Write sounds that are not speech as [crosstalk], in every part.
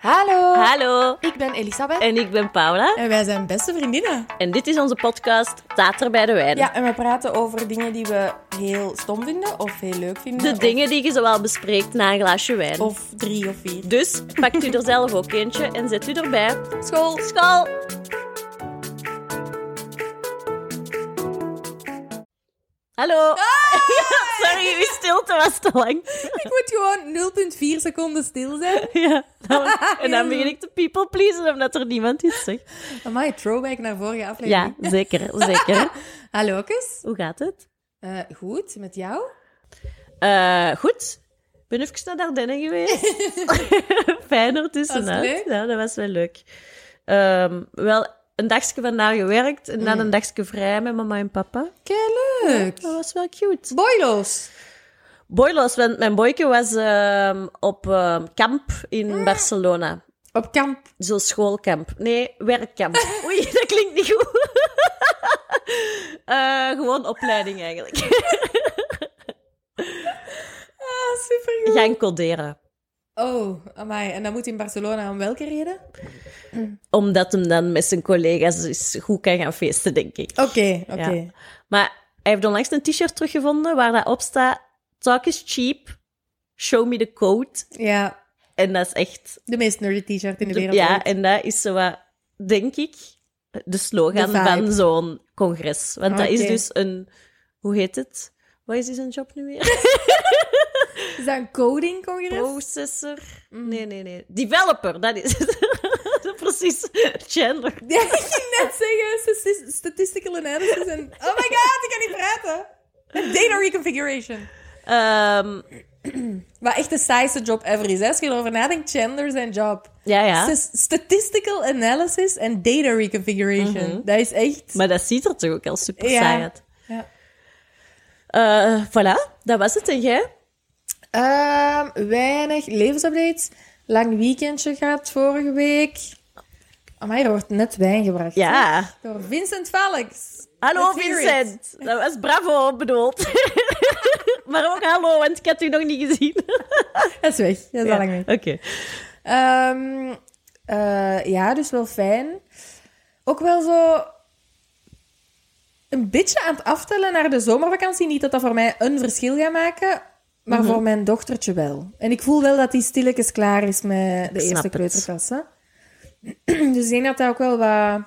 Hallo. Hallo, Ik ben Elisabeth. en ik ben Paula. En wij zijn beste vriendinnen. En dit is onze podcast Tater bij de Wijn. Ja, en we praten over dingen die we heel stom vinden of heel leuk vinden. De of- dingen die je zowel bespreekt na een glaasje wijn. Of drie of vier. Dus pakt u er zelf ook eentje en zet u erbij. School. School! Hallo! Sorry, uw stilte was te lang. [laughs] Ik moet gewoon 0,4 seconden stil zijn. Ja, dan- en dan begin ik te people pleasen omdat er niemand is. Zeg. Amai, throwback naar vorige Ja, aflevering. zeker, zeker. Hallo, kus. Hoe gaat het? Eh, goed, met jou? Eh, goed. Ik ben even naar Dardenne [laughs] geweest. Fijner Was tussenuit. het leuk? Ja, dat was wel leuk. Ehm, wel een dagje van daar gewerkt en dan een dagje vrij met mama en papa. Kei leuk. Dat was wel cute. Boyloos. Boylos, want mijn boyke was ehm, op ehm, kamp in Ah. Barcelona. Op kamp. Zo'n schoolkamp. Nee, werkkamp. [laughs] Oei, dat klinkt niet goed. [laughs] Eh, gewoon opleiding [laughs] eigenlijk. Ah, supergoed. Gaan coderen. Oh, amai. En dat moet in Barcelona om welke reden? Oké, Omdat hem dan met zijn collega's eens goed kan gaan feesten, denk ik. oké. Ja. Maar hij heeft onlangs een t-shirt teruggevonden waar dat op staat: Talk is cheap, show me the code. Ja, En dat is echt. de meest nerdy t-shirt in de wereld. ja, en dat is zo wat, denk ik, de slogan De vibe. van zo'n congres. Want dat is Oké. dus een. Hoe heet het? Wat is die zijn job nu weer? Is dat een codingcongres? Processor. Mm. Nee, nee, nee. Developer, dat is het. [laughs] Precies. Gender. Ja, [laughs] ik ging net zeggen, statis- statistical analysis en... [laughs] Oh my god, ik kan niet praten. En data reconfiguration. Ehm, Wat echt de saaiste job ever is. Hè? Als je erover nadenkt, Chandler zijn job. ja, ja. Stas- Statistical analysis en data reconfiguration. Dat is echt... Maar dat ziet er toch ook al super Ja. saai uit. Ja. Eh, voilà, dat was het. En jij? Ehm, weinig levensupdates. Lang weekendje gehad vorige week. Amai, er wordt net wijn gebracht. Ja. hè? Door Vincent Valks. Hallo Let's hear Vincent. Dat was bravo bedoeld. [laughs] maar ook hallo, want ik had u nog niet gezien. Dat is weg. Dat is al lang weg. [laughs] Oké. Ehm, eh, ja, dus wel fijn. Ook wel zo een beetje aan het aftellen naar de zomervakantie. Niet dat dat voor mij een verschil gaat maken, maar Mhm. voor mijn dochtertje wel. En ik voel wel dat die stilletjes klaar is met de snap eerste het. kleuterklasse. [clears throat] dus ik denk dat dat ook wel wat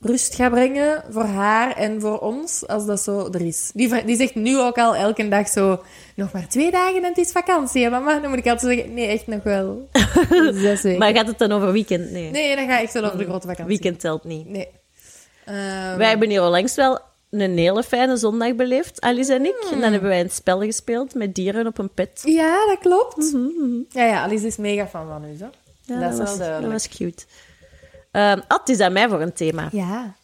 rust gaat brengen voor haar en voor ons, als dat zo er is. Die, vra- die zegt nu ook al elke dag zo, nog maar twee dagen en het is vakantie, hè, mama? Dan moet ik altijd zeggen, nee, echt nog wel. Dus [laughs] Zes weken. Maar gaat het dan over weekend? Nee. Nee, dan ga ik wel over de grote vakantie. Weekend telt niet. Nee. Ehm, Wij hebben hier onlangs wel een hele fijne zondag beleefd, Alice en ik. Hmm. En dan hebben wij een spel gespeeld met dieren op een pet. Ja, dat klopt. Ja, ja, Alice is mega fan van u, zo. Mhm, Ja, dat is wel was, duidelijk. dat was cute. Ehm ah, het is aan mij voor een thema. Ja.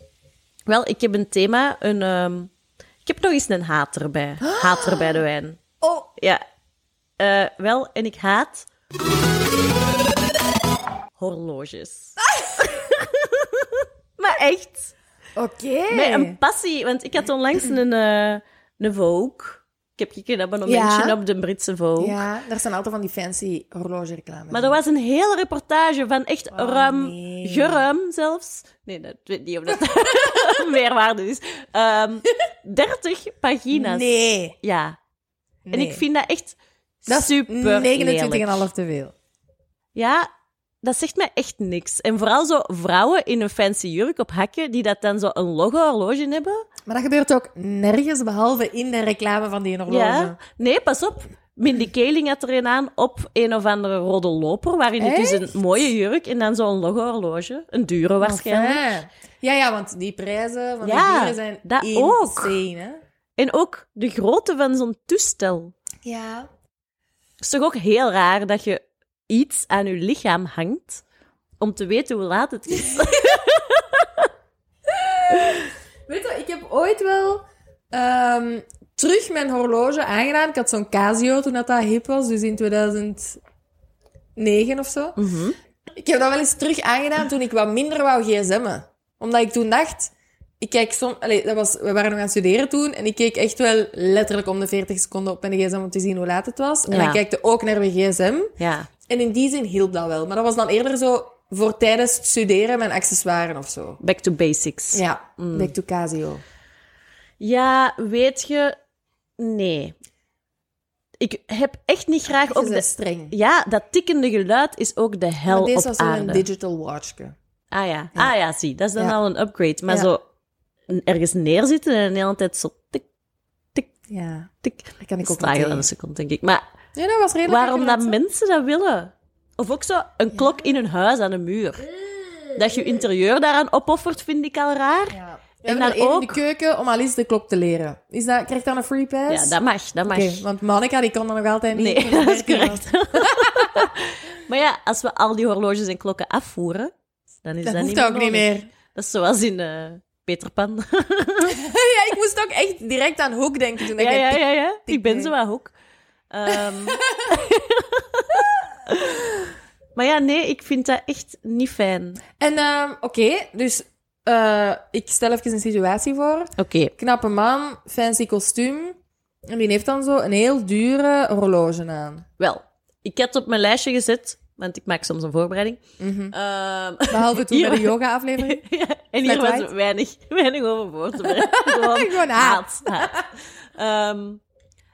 Wel, ik heb een thema. Een, ehm, ik heb nog eens een [gasps] hater bij. Hater bij de wijn. Oh, Ja. Eh, wel, en ik haat... [laughs] Horloges. maar echt. oké. Met een passie. Want ik had onlangs een, eh een Vogue. Ik heb gekeken een abonnementje Ja. op de Britse Vogue. Ja, daar zijn altijd van die fancy horlogereclames. Maar er was een hele reportage van echt ruim, Oh, nee. geruim zelfs. Nee, dat ik weet niet of dat [laughs] meerwaarde is. Ehm 30 pagina's. Nee. Ja. En nee. ik vind dat echt dat super lelijk. 29,5 te veel. Ja, dat zegt mij echt niks. En vooral zo vrouwen in een fancy jurk op hakken, die dat dan zo een logo horloge hebben. Maar dat gebeurt ook nergens behalve in de reclame van die horloge. Ja. Nee, pas op. Mindy Kaling had er een aan op een of andere rode loper, waarin het is Echt? een mooie jurk en dan zo'n logo horloge. Een dure waarschijnlijk. Enfin. Ja, ja, want die prijzen van Ja, die dieren zijn dat insane, ook. hè? En ook de grootte van zo'n toestel. Ja. Het is toch ook heel raar dat je iets aan je lichaam hangt om te weten hoe laat het is. Weet je, ik heb ooit wel ehm, terug mijn horloge aangedaan. Ik had zo'n Casio toen dat, dat hip was, dus in 2009 of zo. Mhm. Ik heb dat wel eens terug aangedaan toen ik wat minder wou gsm'en. Omdat ik toen dacht... Ik kijk soms... Allee, dat was, we waren nog aan het studeren toen. En ik keek echt wel letterlijk om de 40 seconden op mijn gsm om te zien hoe laat het was. En Ja. dan kijkte ook naar mijn gsm. Ja. En in die zin hielp dat wel. Maar dat was dan eerder zo voor tijdens het studeren mijn accessoires of zo. Back to basics. Ja, mm. back to Casio. Ja, weet je, nee. Ik heb echt niet graag ook Ook de... streng. Ja, dat tikkende geluid is ook de hel Maar deze op was wel aarde. een digital watchke. Ah ja. ah ja, zie, dat is dan Ja. al een upgrade. Maar Ja. zo n- ergens neerzitten en de hele tijd zo tik, Ja, tik. dat kan ik Ik ook sta niet je dan tegen. een seconde, denk ik. Maar Nee, dat was redelijk waarom dat inderdaad mensen dat willen? Of ook zo een klok in een huis aan een muur. Dat je je interieur daaraan opoffert, vind ik al raar. zo. Ja. We En hebben er dan één in ook- de keuken om Alice de klok te leren. Is dat, krijgt dat een free pass? Ja, dat mag, dat mag. Oké, want Monica die kon dat nog altijd niet. Nee, Dus [laughs] dat is werkt niet correct. maar ja, als we al die horloges en klokken afvoeren, dan is Dat dat, hoeft niet ook niet nodig. meer. Dat is zoals in eh, Peter [laughs] Pan. Ja, ik moest ook echt direct aan Hoek denken toen ik ja, het- ja, ja, ja. Ik ben mee. zo aan hoek. Ehm. [laughs] maar ja, nee, ik vind dat echt niet fijn. En ehm, oké, dus eh, ik stel even een situatie voor. Oké. Knappe man, fancy kostuum. En die heeft dan zo een heel dure horloge aan. Wel, ik had op mijn lijstje gezet, want ik maak soms een voorbereiding. Mhm. Ehm, [laughs] Behalve toen bij de Hier. yoga-aflevering. [laughs] ja, en Met hier was white? weinig, weinig over voor te [laughs] brengen. Gewoon Gewoon haat. haat. haat. [laughs] Ehm,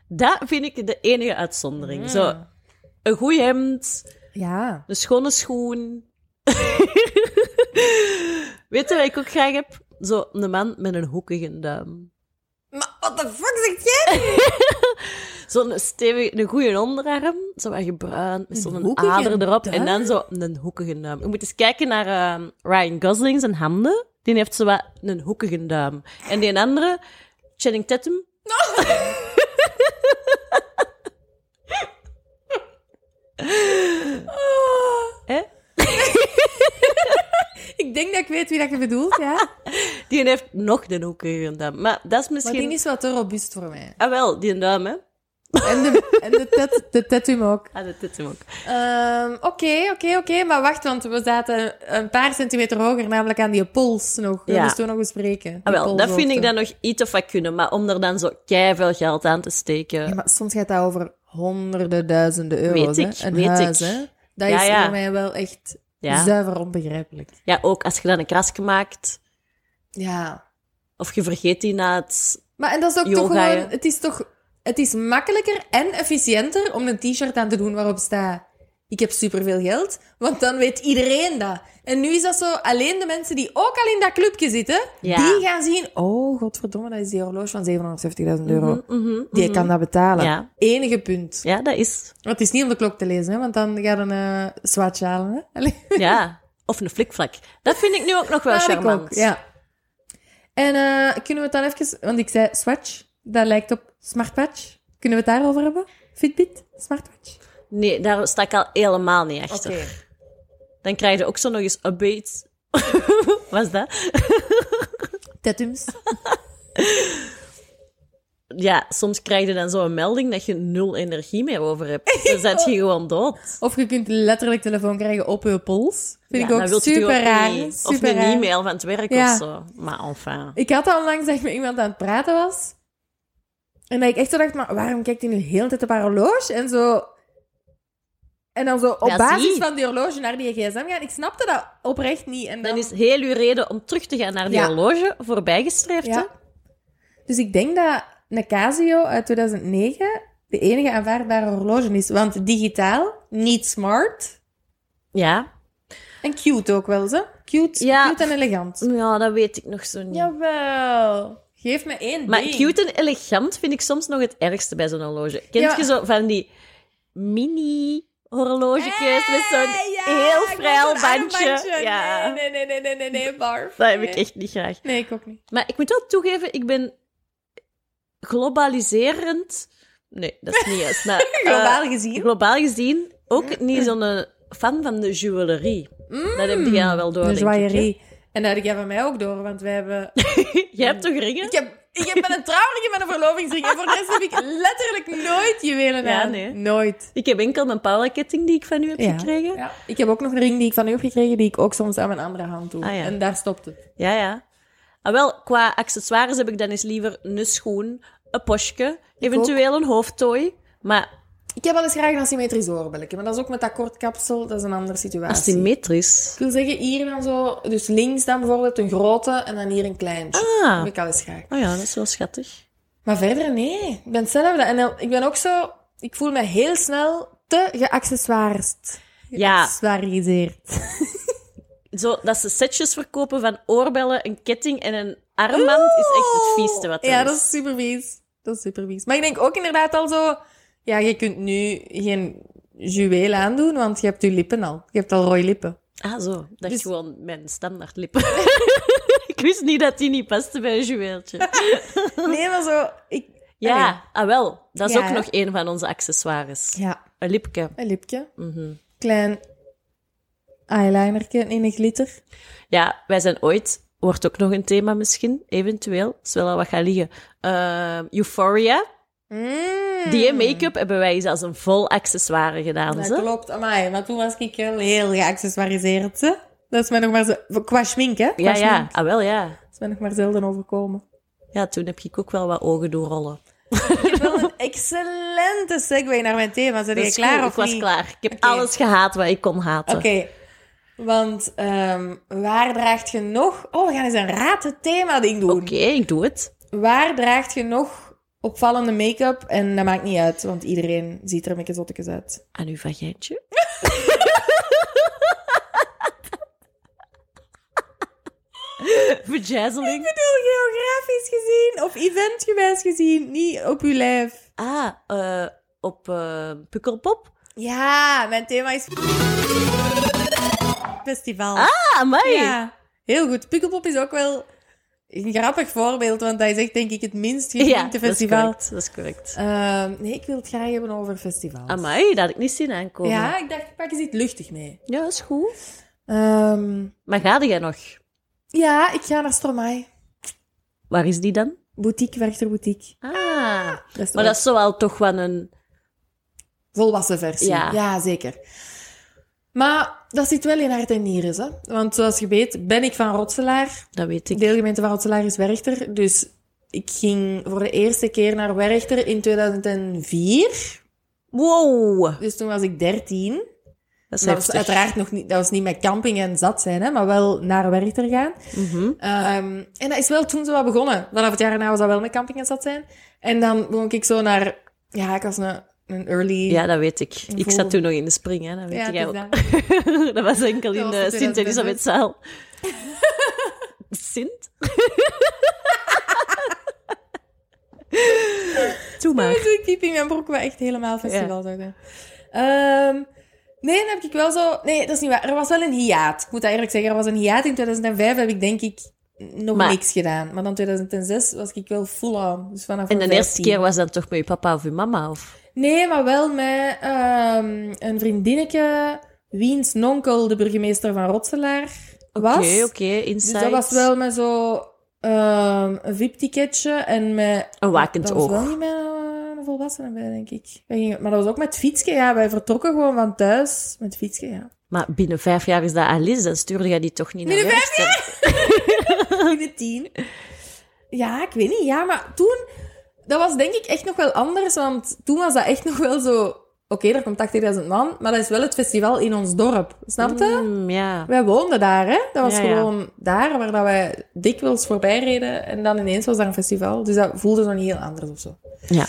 dat vind ik de enige uitzondering. Zo, een goed hemd, Ja. een schone schoen. [laughs] Weet je wat ik ook graag heb? Zo, een man met een hoekige duim. Maar what the fuck zeg jij? Zo'n stevige, een goede onderarm. Zo wat gebruind, met Een zo'n hoekige ader erop. duim? En dan zo een hoekige duim. Je moet eens kijken naar ehm, Ryan Gosling zijn handen. Die heeft zo wat een hoekige duim. En die andere, Channing Tatum. [laughs] [laughs] Hè? Ik denk dat ik weet wie dat je bedoelt, [laughs] ja. Die heeft nog een hoekige duim. Maar dat is Maar misschien... die is wel te robuust voor mij. Ah wel, die duim, hè. En de, en de, tat, de tattoo ook. Ah, dat is hem ook. Ehm, Oké, oké, oké. Maar wacht, want we zaten een paar centimeter hoger, namelijk aan die pols nog. We Ja. moesten toen nog bespreken. die Ah, wel, dat vind polshoogte. ik dan nog iets of wat kunnen. Maar om er dan zo veel geld aan te steken... Ja, maar soms gaat dat over honderden duizenden euro's. Weet ik, hè? Een weet huis, ik. hè? Dat Ja, is ja. voor mij wel echt Ja. zuiver onbegrijpelijk. ja, ook als je dan een krasje maakt... Ja. Of je vergeet die na het... Maar en dat is ook toch Yoga, gewoon... hè? Het is toch... Het is makkelijker en efficiënter om een t-shirt aan te doen waarop staat... Ik heb superveel geld, want dan weet iedereen dat. En nu is dat zo, alleen de mensen die ook al in dat clubje zitten, Ja. die gaan zien... Oh, godverdomme, dat is die horloge van 770.000 euro. Mhm, Die mhm. kan dat betalen. Ja. Enige punt. Ja, dat is. Want het is niet om de klok te lezen, hè, want dan ga je een eh swatch halen. Hè? Allee. [laughs] Ja. Of een flikvlak. Dat vind ik nu ook nog wel Ja, dat charmant. ook, ja. En eh, kunnen we het dan even... Want ik zei Swatch, dat lijkt op Smartwatch. Kunnen we het daarover hebben? Fitbit, Smartwatch? Nee, daar sta ik al helemaal niet achter. Dan krijg je ook zo nog eens [laughs] updates. Wat is dat? Tatums. Ja, soms krijg je dan zo een melding dat je nul energie meer over [laughs] hebt. Dan zet je gewoon dood. Of je kunt letterlijk telefoon krijgen op je pols. Vind Ja, ik dat ook wilt je super toch ook raar. niet. Of super een raar. e-mail van het werk Ja. of zo. Maar enfin. Ik had al onlangs dat ik met iemand aan het praten was. En dat ik echt zo dacht, maar waarom kijkt hij nu heel de tijd op haar horloge? En zo... En dan zo op Ja, basis zie. van die horloge naar die gsm gaan. Ik snapte dat oprecht niet. En dan, Dan is heel uw reden om terug te gaan naar die Ja. horloge voorbijgestreefd. hè? Ja. Dus ik denk dat een Casio uit 2009 de enige aanvaardbare horloge is. Want digitaal, niet smart ja. en cute ook wel, ze. Cute, Ja. cute en elegant. Ja, dat weet ik nog zo niet. Jawel. Geef me één Maar ding. cute en elegant vind ik soms nog het ergste bij zo'n horloge. Kent Ja. je zo van die mini-horlogetjes met Hey, zo'n Eh, ja, heel ik wil frail zo'n bandje? armbandje. Ja, Nee, nee, nee, nee, nee, nee, nee, barf. dat heb ik Nee. echt niet graag. Nee, ik ook niet. Maar ik moet wel toegeven, ik ben globaliserend... Nee, dat is niet juist. [laughs] Maar, eh, Globaal gezien. Mm. globaal gezien ook niet zo'n eh, fan van de juwelerie. Dat heb jij wel door, De denk ik, hè? [laughs] joaillerie. En dat had jij van mij ook door, want wij hebben... Jij hebt toch ringen? Ik heb, ik heb met een trouwring en met een verlovingsring. En voor de rest heb ik letterlijk nooit juwelen Ja, aan. nee. Nooit. Ik heb enkel mijn Paula-ketting die ik van u heb gekregen. Ja. Ik heb ook nog een ring die ik van u heb gekregen, die ik ook soms aan mijn andere hand doe. Ah, ja. En daar stopt het. Ja, ja. Ah, wel, qua accessoires heb ik dan eens liever een schoen, een postje, eventueel een hoofdtooi. Maar Ik heb wel eens graag een asymmetrisch oorbelletje, maar dat is ook met dat kortkapsel, dat is een andere situatie. Asymmetrisch. Ik wil zeggen, hier dan zo, dus links dan bijvoorbeeld een grote en dan hier een kleintje. Ah. Dat heb ik al eens graag. Oh ja, dat is wel schattig. Maar verder, nee. Ik ben zelf, en dan- ik ben ook zo, ik voel me heel snel te geaccessoirist. Ja, Geaccessoiriseerd. zo, dat ze setjes verkopen van oorbellen, een ketting en een armband is echt het vieste wat er Oh. Ja, dat is super vies. Dat is super vies. Maar ik denk ook inderdaad al zo, ja, je kunt nu geen juweel aandoen, want je hebt je lippen al. Je hebt al rode [laughs] lippen. Ah, zo. Dat Dus- is gewoon mijn standaard lippen. [laughs] ik wist niet dat die niet paste bij een [laughs] juweeltje. Nee, maar zo, ik... Allee. Ja, ah wel. Dat is Ja, ook hè? nog een van onze accessoires. Ja, Een lipje. een lipje. Mhm. Klein eyelinerke in een glitter. Ja, wij zijn ooit, wordt ook nog een thema misschien, eventueel, is wel al wat gaan liggen. Ehm, Euphoria, Mm. die make-up hebben wij zelfs een vol accessoire gedaan. Dat ze. klopt, amai. Maar toen was ik heel, heel geaccessoiriseerd. hè. Dat is mij nog maar zo... Qua schmink, hè? Qua Ja, ja, schmink. ah wel ja. Dat is mij nog maar zelden overkomen. Ja, toen heb ik ook wel wat ogen doorrollen. Ik heb wel [laughs] een excellente segue naar mijn thema. Zijn Dat jullie is klaar Dus goed, of Ik was niet? klaar. Ik heb Oké. alles gehaat wat ik kon haten. Oké. Want ehm, waar draagt je nog... Oh, we gaan eens een raad het thema ding doen. Oké, ik doe het. Waar draagt je nog opvallende make-up? En dat maakt niet uit, want iedereen ziet er een beetje zottekes uit. Aan uw vagijntje. [laughs] Verjazzeling. bedoel, geografisch gezien of eventgewijs gezien, niet op uw lijf. Ah, eh, op eh, Pukkelpop. Ja, mijn thema is. Festival. Ah, amai. Ja, heel goed. Pukkelpop is ook wel een grappig voorbeeld, want dat is echt, denk ik, het minst Ja, geliefde dat is festival. correct, Dat is correct. Ehm, nee, ik wil het graag hebben over festivals. Amai, dat had ik niet zien aankomen. Ja, ik dacht, ik pak eens iets luchtig mee. Ja, is goed. Ehm, Maar ga jij nog? ja, ik ga naar Stromae. Waar is die dan? Boutique, Werchter Boutique. Ah, Dat is maar de dat is zowel toch wel een... volwassen versie. Ja. zeker. Maar dat zit wel in hart en nieren, hè. Want zoals je weet, ben ik van Rotselaar. Dat weet ik. De deelgemeente van Rotselaar is Werchter. Dus ik ging voor de eerste keer naar Werchter in 2004. Wow, Dus toen was ik 13. dat is Dat was heftig. uiteraard nog niet, dat was niet met camping en zat zijn, hè, maar wel naar Werchter gaan. Mhm. Ehm, en dat is wel toen zo wat begonnen. Vanaf het jaar daarna was dat wel met camping en zat zijn. En dan begon ik zo naar... Ja, ik was een, een early... Ja, dat weet ik. Een Ik vogel. zat toen nog in de spring, hè. dat weet Ja, ik het is ook. [laughs] dat. [laughs] dat was enkel Dat in eh, was de in 2006. Sint-Elisabethzaal. [laughs] Sint? [laughs] Doe maar. Ik diep in mijn broek, maar echt helemaal festival zou zijn. Ehm, nee, dan heb ik wel zo... Nee, dat is niet waar. Er was wel een hiaat. Ik moet dat eerlijk zeggen. Er was een hiaat. In 2005 heb ik denk ik nog Maar- niks gedaan. Maar dan 2006 was ik wel full-on. Dus vanaf En de mijn eerste 15. keer was dat toch met je papa of je mama? Of? Nee, maar wel met ehm, een vriendinnetje... Wiens nonkel de burgemeester van Rotselaar was. Oké, oké, insights. Dus dat was wel met zo... ehm, een VIP-ticketje en met Een wakend dat was oog. wel niet mijn eh, volwassenen bij, denk ik. Wij gingen- maar dat was ook met fietsje, ja. Wij vertrokken gewoon van thuis met fietsje, ja. Maar binnen vijf jaar is dat Alice, dan stuurde jij die toch niet Binnen naar vijf werk? In de tien. Ja, ik weet niet. Ja, maar toen... Dat was denk ik echt nog wel anders, want toen was dat echt nog wel zo... Oké, er komt 80.000 man, maar dat is wel het festival in ons dorp. Snap je? Mm, ja. Wij woonden daar, hè. Dat was Ja, ja. gewoon daar waar dat wij dikwijls voorbij reden. En dan ineens was daar een festival. Dus dat voelde zo niet heel anders of zo. ja.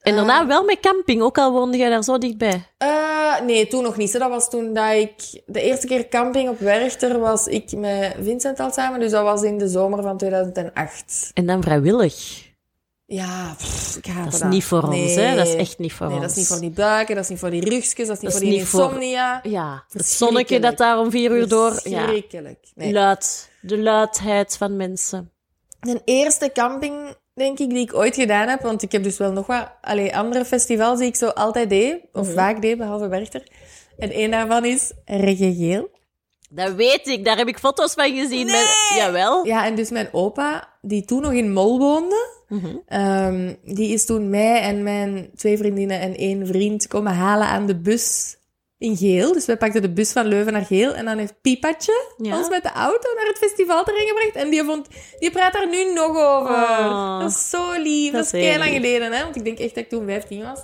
En daarna wel met camping, ook al woonde jij daar zo dichtbij. Eh, nee, toen nog niet. hè. Dat was toen dat ik... De eerste keer camping op Werchter was ik met Vincent al samen. Dus dat was in de zomer van 2008. En dan vrijwillig. Ja, pff, ik haat Dat dat. is niet voor ons, hè. Dat is echt niet voor nee, ons. dat is niet voor die buiken, dat is niet voor die rugjes, dat is niet Dat voor is die niet voor- insomnia. Ja, het Verschrikkelijk. zonnetje dat daar om vier uur door... Ja. Verschrikkelijk. Nee. Luid. De luidheid van mensen. De eerste camping, denk ik, die ik ooit gedaan heb, want ik heb dus wel nog wat allee, andere festivals die ik zo altijd deed, of Mhm. vaak deed, behalve Werchter. En één daarvan is Reggae Geel. Dat weet ik. Daar heb ik foto's van gezien. Nee! Met... Jawel. Ja, en dus mijn opa, die toen nog in Mol woonde, Mhm. ehm, die is toen mij en mijn twee vriendinnen en één vriend komen halen aan de bus in Geel. Dus wij pakten de bus van Leuven naar Geel. En dan heeft Piepatje Ja. ons met de auto naar het festival terecht gebracht. En die, vond, die praat daar nu nog over. Oh. dat is zo lief. Dat Dat, is is heel heel lang lief. geleden, hè? Want ik denk echt dat ik toen 15 was.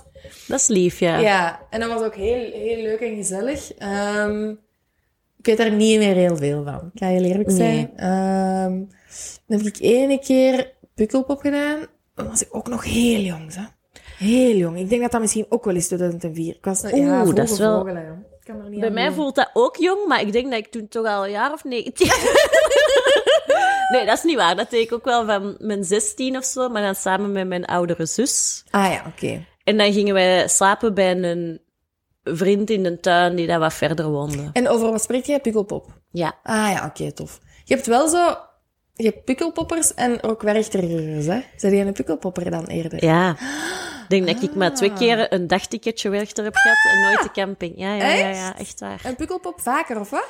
Dat is lief, ja. Ja, en dat was ook heel, heel leuk en gezellig. Ehm, ik weet daar niet meer heel veel van. Ik ga heel eerlijk Nee. zijn. Ehm, dan heb ik ene keer Pukkelpop gedaan. Dan was ik ook nog heel jong, hè. Heel jong. Ik denk dat dat misschien ook wel is 2004. Ik was Oeh, ja, dat vroege is wel- vogel, hè. Ik kan er niet Bij aan mij doen. voelt dat ook jong, maar ik denk dat ik toen toch al een jaar of [laughs] 19. nee, dat is niet waar. Dat deed ik ook wel van mijn 16 of zo, maar dan samen met mijn oudere zus. Ah ja, oké. En dan gingen wij slapen bij een vriend in de tuin die daar wat verder woonde. En over wat spreek jij? Pukkelpop. Ja. Ah ja, oké, tof. Je hebt wel zo... Je hebt pukkelpoppers en ook werchterers, hè? Zijn die een pukkelpopper dan eerder? Ja. Ik denk dat ik maar twee keer een dagticketje werchter heb gehad en nooit de camping. Ja, ja, ja, ja, Ah. echt waar. Een pukkelpop vaker, of wat?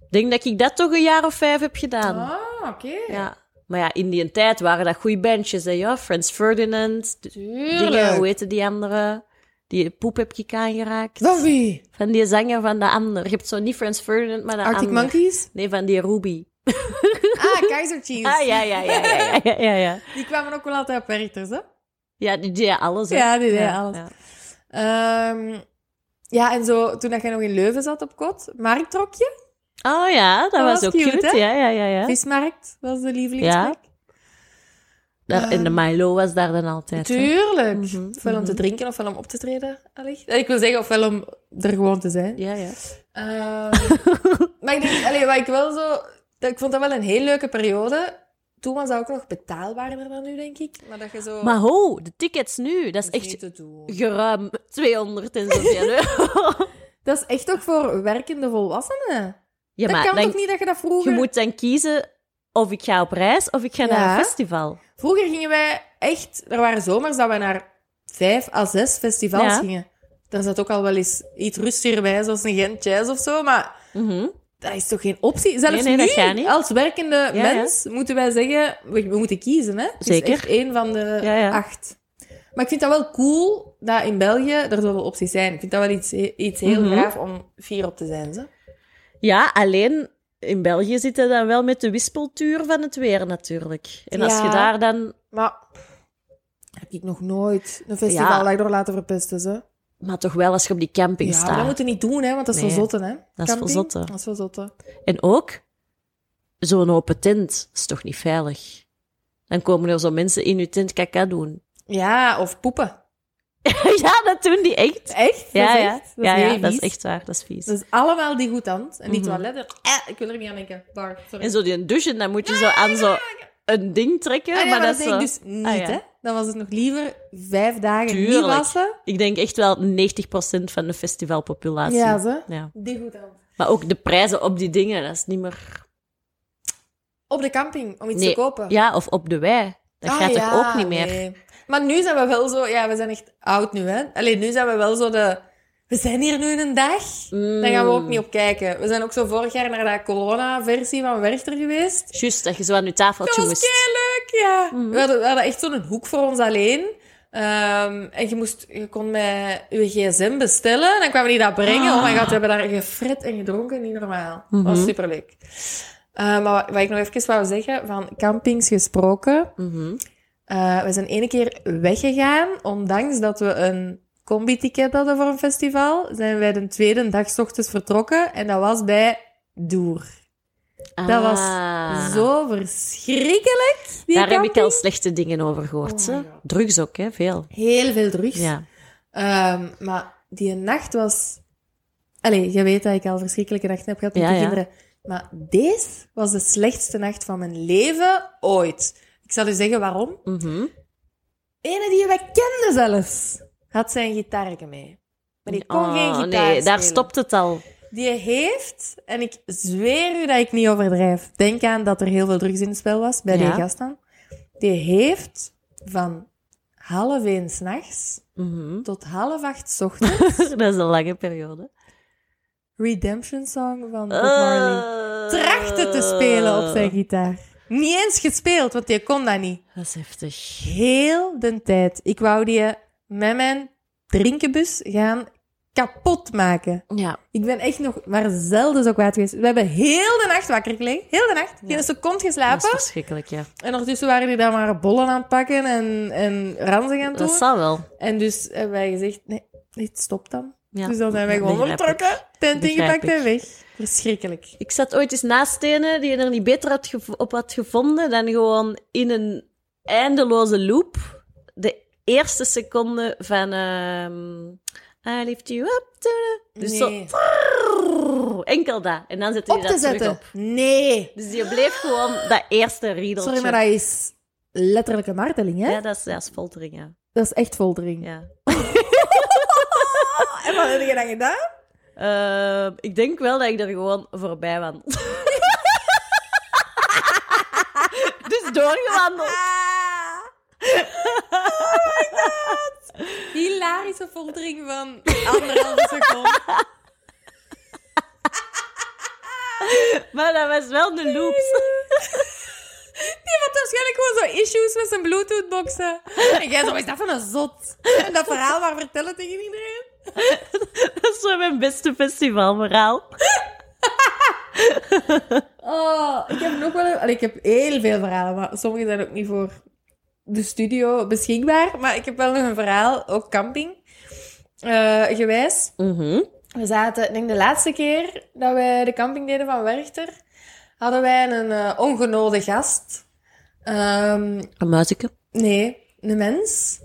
Ik denk dat ik dat toch een jaar of vijf heb gedaan. Ah, oké. Ja. Maar ja, in die tijd waren dat goede bandjes, hè, ja. Frans Ferdinand, d- dingen, hoe Tuurlijk. heette die andere? Die poep heb ik aangeraakt. Van wie? Van die zanger van de ander. Je hebt zo niet Frans Ferdinand, maar de Arctic ander. Monkeys? Nee, van die Ruby. [laughs] Ah, [laughs] Kaiser Cheese. Ah, ja, ja, ja, ja, ja, ja, ja. Ja, Die kwamen ook wel altijd op Werchters, hè? ja die deed alles, hè. Ja, die deed alles. ja. Ehm, ja, en zo toen dat jij nog in Leuven zat op kot, marktrokje, Oh ja, dat, was, ook cute, hè? ja, ja, ja, ja. vismarkt, was de lievelingsplek. Daar, en de Milo was daar dan altijd, hè. Tuurlijk. Mhm, ofwel om te drinken, ofwel om op te treden, allicht. Eh, Ik wil zeggen, ofwel om er gewoon te zijn. Ja, ja. [laughs] Ehm, maar ik denk, allee, wat ik wel zo... dat- Ik vond dat wel een heel leuke periode. Toen was dat ook nog betaalbaarder dan nu, denk ik. Maar dat je zo... Maar ho, de tickets nu, dat is dat is niet echt te doen. geruim 200 en [laughs] zoveel euro. Dat is echt ook voor werkende volwassenen. Ja, dat maar kan dan- toch niet dat je dat vroeger... Je moet dan kiezen of ik ga op reis of ik ga naar Ja. een festival. Vroeger gingen wij echt... Er waren zomers dat wij naar vijf à zes festivals Ja. gingen. Daar zat ook al wel eens iets rustiger bij, zoals een Gent Jazz of zo. Maar Mhm. dat is toch geen optie? Zelfs nee, dat gaat nu, niet. als werkende ja. mens, moeten wij zeggen... We, we moeten kiezen, hè? Het Zeker. is echt één van de Ja, ja. acht. Maar ik vind dat wel cool dat in België er zoveel opties zijn. Ik vind dat wel iets, iets heel Mhm. gaaf om fier op te zijn, ze. Ja, alleen in België zit je dan wel met de wispeltuur van het weer natuurlijk. En als Ja. je daar dan... Maar heb ik nog nooit een festival Ja. dat ik door laten verpesten, ze. Maar toch wel als je op die camping dus, Ja, maar dat staat. moeten we niet doen, hè, want dat is Nee, voor zotten, hè. voor Camping, zotten. Dat is voor zotten. En ook, zo'n open tent is toch niet veilig? Dan komen er zo mensen in je tent kaka doen. [laughs] Ja, of poepen. ja, dat doen die echt. Echt? Ja, dat is ja. echt? Dat ja, is ja, heel dat is vies. echt waar. Dat is vies. Dat is allemaal die goedhand. En die Mhm. toiletten. Eh, ik wil er niet aan denken. Bar, sorry. En zo die douchen, dan moet je zo aan zo een ding trekken. Ah, nee, maar dat is deed ik zo... dus niet, Ah, ja. hè. Dan was het nog liever vijf dagen niet Tuurlijk. wassen. Ik denk echt wel 90% van de festivalpopulatie. Ja, ze. Ja. Die goedhand. Maar ook de prijzen op die dingen, dat is niet meer... Op de camping, om iets Nee. te kopen. Ja, of op de wei. Dat Ah, gaat ja, toch ook niet meer. nee. Maar nu zijn we wel zo... Ja, we zijn echt oud nu, hè. Alleen nu zijn we wel zo de... We zijn hier nu een dag. Mm. Daar gaan we ook niet op kijken. We zijn ook zo vorig jaar naar dat corona-versie van Werchter geweest. Juist, dat je zo aan je Dat tafeltje was moest. kei leuk, ja. Mhm. We, hadden, we hadden echt zo'n hoek voor ons alleen. Ehm, en je, moest, je kon met je gsm bestellen. Dan kwamen die dat brengen. Oh my god, we hebben daar gefrit en gedronken. Niet normaal. Dat Mhm. was superleuk. Eh, maar wat, wat ik nog even wou zeggen, van campings gesproken. Mhm. Eh, we zijn ene keer weggegaan, ondanks dat we een combi-ticket hadden voor een festival, zijn wij de tweede dag 's ochtends vertrokken en dat was bij Doer. Dat was Ah. Zo verschrikkelijk. Die Daar heb ik camping. al slechte dingen over gehoord. Oh my hè. Drugs ook, hè? Veel. heel veel drugs. Ja. Ehm, maar die nacht was. Allee, je weet dat ik al verschrikkelijke nachten heb gehad met Ja, de ja. kinderen. Maar deze was de slechtste nacht van mijn leven ooit. Ik zal u zeggen waarom. Mhm. Ene die wij kenden zelfs, had zijn gitaarke mee. Maar die kon Oh, geen gitaar nee, daar spelen. stopt het al. Die heeft, en ik zweer u dat ik niet overdrijf, denk aan dat er heel veel drugs in het spel was, bij Ja. die gast dan. Die heeft van half één s'nachts Mhm. [laughs] tot half acht 's ochtends dat is een lange periode. Redemption Song van Bob Eh. Marley trachtte te spelen op zijn gitaar. Niet eens gespeeld, want die kon dat niet. Dat is heftig. Heel de tijd. Ik wou die met mijn drinkenbus gaan kapot maken. Ja. Ik ben echt nog maar zelden zo kwaad geweest. We hebben heel de nacht wakker gelegen. Heel de nacht. Geen Ja. seconde Dat is geslapen. verschrikkelijk, ja. En ondertussen waren die daar maar bollen aan het pakken en, en ranzig aan het doen. Dat zal wel. En dus hebben wij gezegd, nee, dit stopt dan. Ja. Dus dan zijn wij Ja, gewoon begrijp vertrokken. Tent Begrijp ingepakt en ik. weg. Verschrikkelijk. Ik zat ooit eens naast stenen die je er niet beter had gev- op had gevonden dan gewoon in een eindeloze loop de eerste seconde van ehm, I lift you up. to the- Nee. Dus zo trrrr, enkel dat. En dan zette Op hij te dat terug zetten. op. Nee. Dus je bleef gewoon dat eerste riedeltje. Sorry, maar dat is letterlijk een marteling, hè? Ja, dat is, dat is foltering, ja. Dat is echt foltering. ja. En wat heb je dan gedaan? Ehm, ik denk wel dat ik er gewoon voorbij wandel. [laughs] dus doorgewandeld. Ah. [laughs] Oh Hilarische foltering van [laughs] anderhalve seconde. Maar dat was wel de loops. Die had waarschijnlijk gewoon zo issues met zijn Bluetooth-boxen. En jij zo, "Wat is dat van een zot? En dat verhaal maar vertellen tegen iedereen. Dat is zo mijn beste festivalverhaal. Oh, ik heb nog wel... een- Allee, ik heb heel veel verhalen, maar sommige zijn ook niet voor de studio beschikbaar. Maar ik heb wel nog een verhaal, ook camping, eh, gewijs. Mhm. We zaten, ik denk de laatste keer dat wij de camping deden van Werchter, hadden wij een eh, ongenode gast. Ehm, Een Mhm. muizenke. nee, een mens.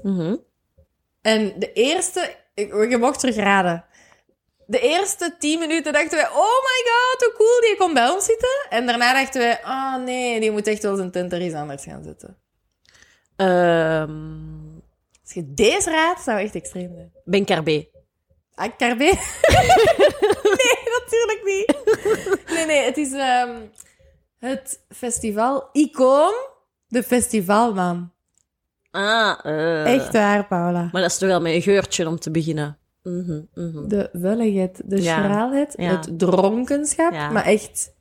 En de eerste, ik, je mocht terug raden. De eerste tien minuten dachten wij, oh my god, hoe cool, die komt bij ons zitten. En daarna dachten wij, oh nee, die moet echt wel zijn tent er iets anders gaan zetten. Als je deze raadt, zou echt extreem zijn. Ehm, ben Carbé. Ah, Carbé? nee, [laughs] natuurlijk niet. Nee, nee, het is ehm, het festival Icoon, de festivalman. Ah, eh. Echt waar, Paula. Maar dat is toch wel met een geurtje om te beginnen. Mhm, mhm. De welligheid, de Ja, schraalheid, ja. het dronkenschap, Ja. maar echt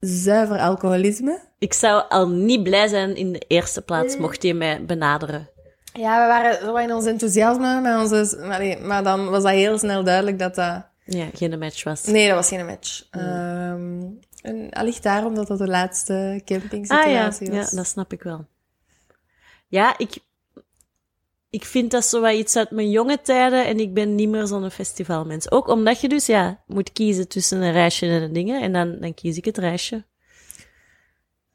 zuiver alcoholisme. Ik zou al niet blij zijn in de eerste plaats mocht hij mij benaderen. Ja, we waren zo in ons enthousiasme, met onze, maar, nee, maar dan was dat heel snel duidelijk dat dat... Ja, geen match was. Nee, dat was geen match. Mm. Ehm, en allicht daarom dat dat de laatste Ah ja. campingsituatie ja, was. dat snap ik wel. Ja, ik, ik vind dat zo wat iets uit mijn jonge tijden en ik ben niet meer zo'n festivalmens. Ook omdat je dus ja, moet kiezen tussen een reisje en een dingen en dan, dan kies ik het reisje.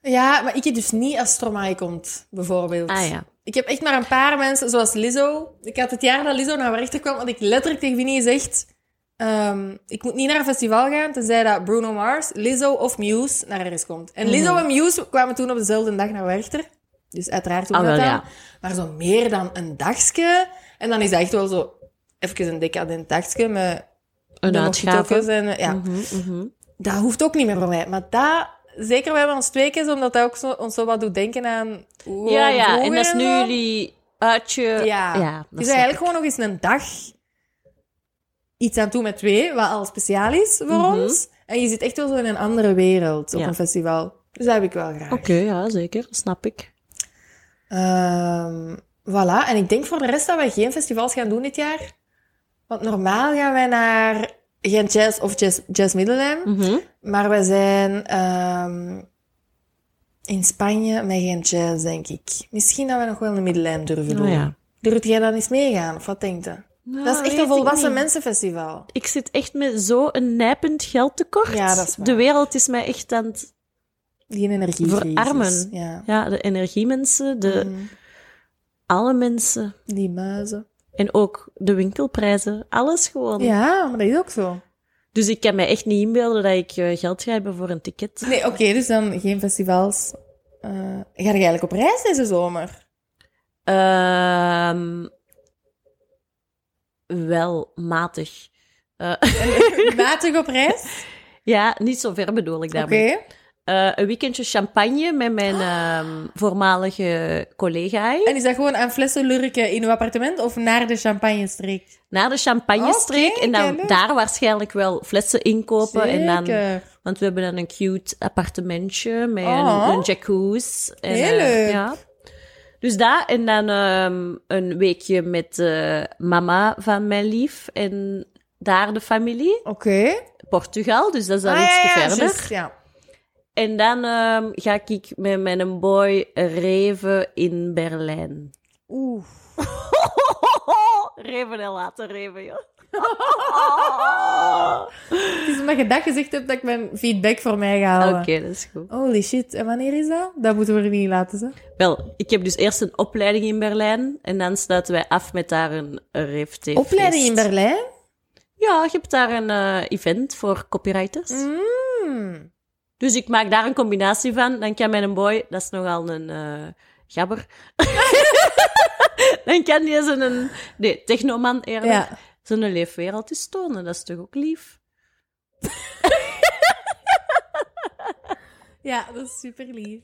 Ja, maar ik heb dus niet als Stromae komt, bijvoorbeeld. Ah ja. Ik heb echt maar een paar mensen, zoals Lizzo. Ik had het jaar dat Lizzo naar rechter kwam, had ik letterlijk tegen Vinnie gezegd... ehm, ik moet niet naar een festival gaan, tenzij dat Bruno Mars, Lizzo of Muse naar ergens komt. En Lizzo Mhm. en Muse kwamen toen op dezelfde dag naar Werchter. Dus uiteraard doen we Ah, dat dan. wel, ja. Maar zo meer dan een dagje. En dan is dat echt wel zo even een decadent dagje met... Een de uitgave. mojito's En, eh, ja Mhm, mhm. dat hoeft ook niet meer voor mij. Maar dat, zeker wij hebben ons twee keer, omdat dat ook zo, ons zo wat doet denken aan hoe we Ja, ja, vroeger en dat is nu zo. jullie uitje. Ja. ja Het is snap eigenlijk ik. gewoon nog eens een dag iets aan toe met twee, wat al speciaal is voor Mhm. ons. En je zit echt wel zo in een andere wereld op Ja. een festival. Dus dat heb ik wel graag. Oké, ja, zeker. Dat snap ik. Ehm, voilà. En ik denk voor de rest dat wij geen festivals gaan doen dit jaar. Want normaal gaan wij naar Gent Jazz of Jazz, Jazz Middelheim. Mhm. Maar we zijn ehm, in Spanje met geen jazz, denk ik. Misschien dat we nog wel een middenlijn durven doen. Oh, ja. Ah, Durf jij dan eens meegaan? Of wat denkt je? dat is echt Nou, weet een ik volwassen niet. mensenfestival. Ik zit echt met zo'n nijpend geldtekort. Ja, dat is waar. De wereld is mij echt aan het... Die energie. Verarmen. Ja. Ja, de energiemensen, de... Mhm. Alle mensen. Die muizen. En ook de winkelprijzen. Alles gewoon. Ja, maar dat is ook zo. Dus ik kan mij echt niet inbeelden dat ik eh, geld ga hebben voor een ticket. Nee, oké, dus dan geen festivals. Eh, ga je eigenlijk op reis deze [laughs] zomer? Ehm, wel matig. Eh, Matig op reis? ja, niet zo ver bedoel ik Oké. Ah. daarmee. Eh, een weekendje champagne met mijn ehm, voormalige collega. En is dat gewoon aan flessen lurken in uw appartement of naar de champagne-streek? Naar de champagnestreek Oké, en dan leuk. daar waarschijnlijk wel flessen inkopen. En dan, Zeker. want we hebben dan een cute appartementje met Oh. een, een jacuzzi. En, Heel eh, leuk. ja. Dus dat en dan ehm, een weekje met eh, mama van mijn lief en daar de familie. Oké. Portugal, dus dat is dan Ah, iets ja, ja, verder. juist, ja. En dan ehm, ga ik met mijn boy reven in Berlijn. Oeh. Oh, reven en laten reven, [laughs] joh. Oh. Het is omdat je dat gezegd hebt dat ik mijn feedback voor mij ga houden. Oké, dat is goed. Holy shit. En wanneer is dat? Dat moeten we er niet laten, zo. Wel, ik heb dus eerst een opleiding in Berlijn en dan sluiten wij af met daar een reefteef. Opleiding in Berlijn? Ja, je hebt daar een eh, event voor copywriters. Mm. Dus ik maak daar een combinatie van. Dan kan mijn boy, dat is nogal een eh, gabber. [laughs] dan kan die zo'n nee, technoman eerder Ja. zo'n leefwereld eens tonen. Dat is toch ook lief? Ja, dat is super [laughs] lief.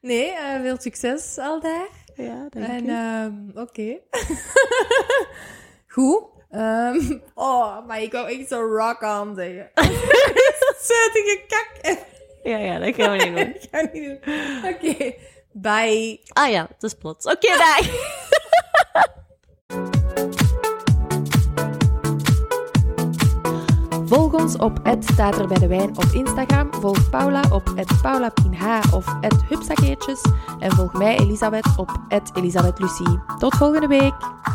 nee, eh, veel succes al daar. Ja, En ehm, oké. [laughs] Goed. Ehm, oh, maar ik wou echt zo rock on zeggen. [laughs] Zuttige kak. [laughs] Ja, ja, dat gaan we niet doen. Ik ga niet doen. Oké. Bye. Ah ja, dat is plots. Oké, dag! Volg ons op staat er bij de wijn op Instagram. Volg Paula op paulapinh of hupsakeertjes. En volg mij, Elisabeth, op Elisabeth Lucie. Tot volgende week.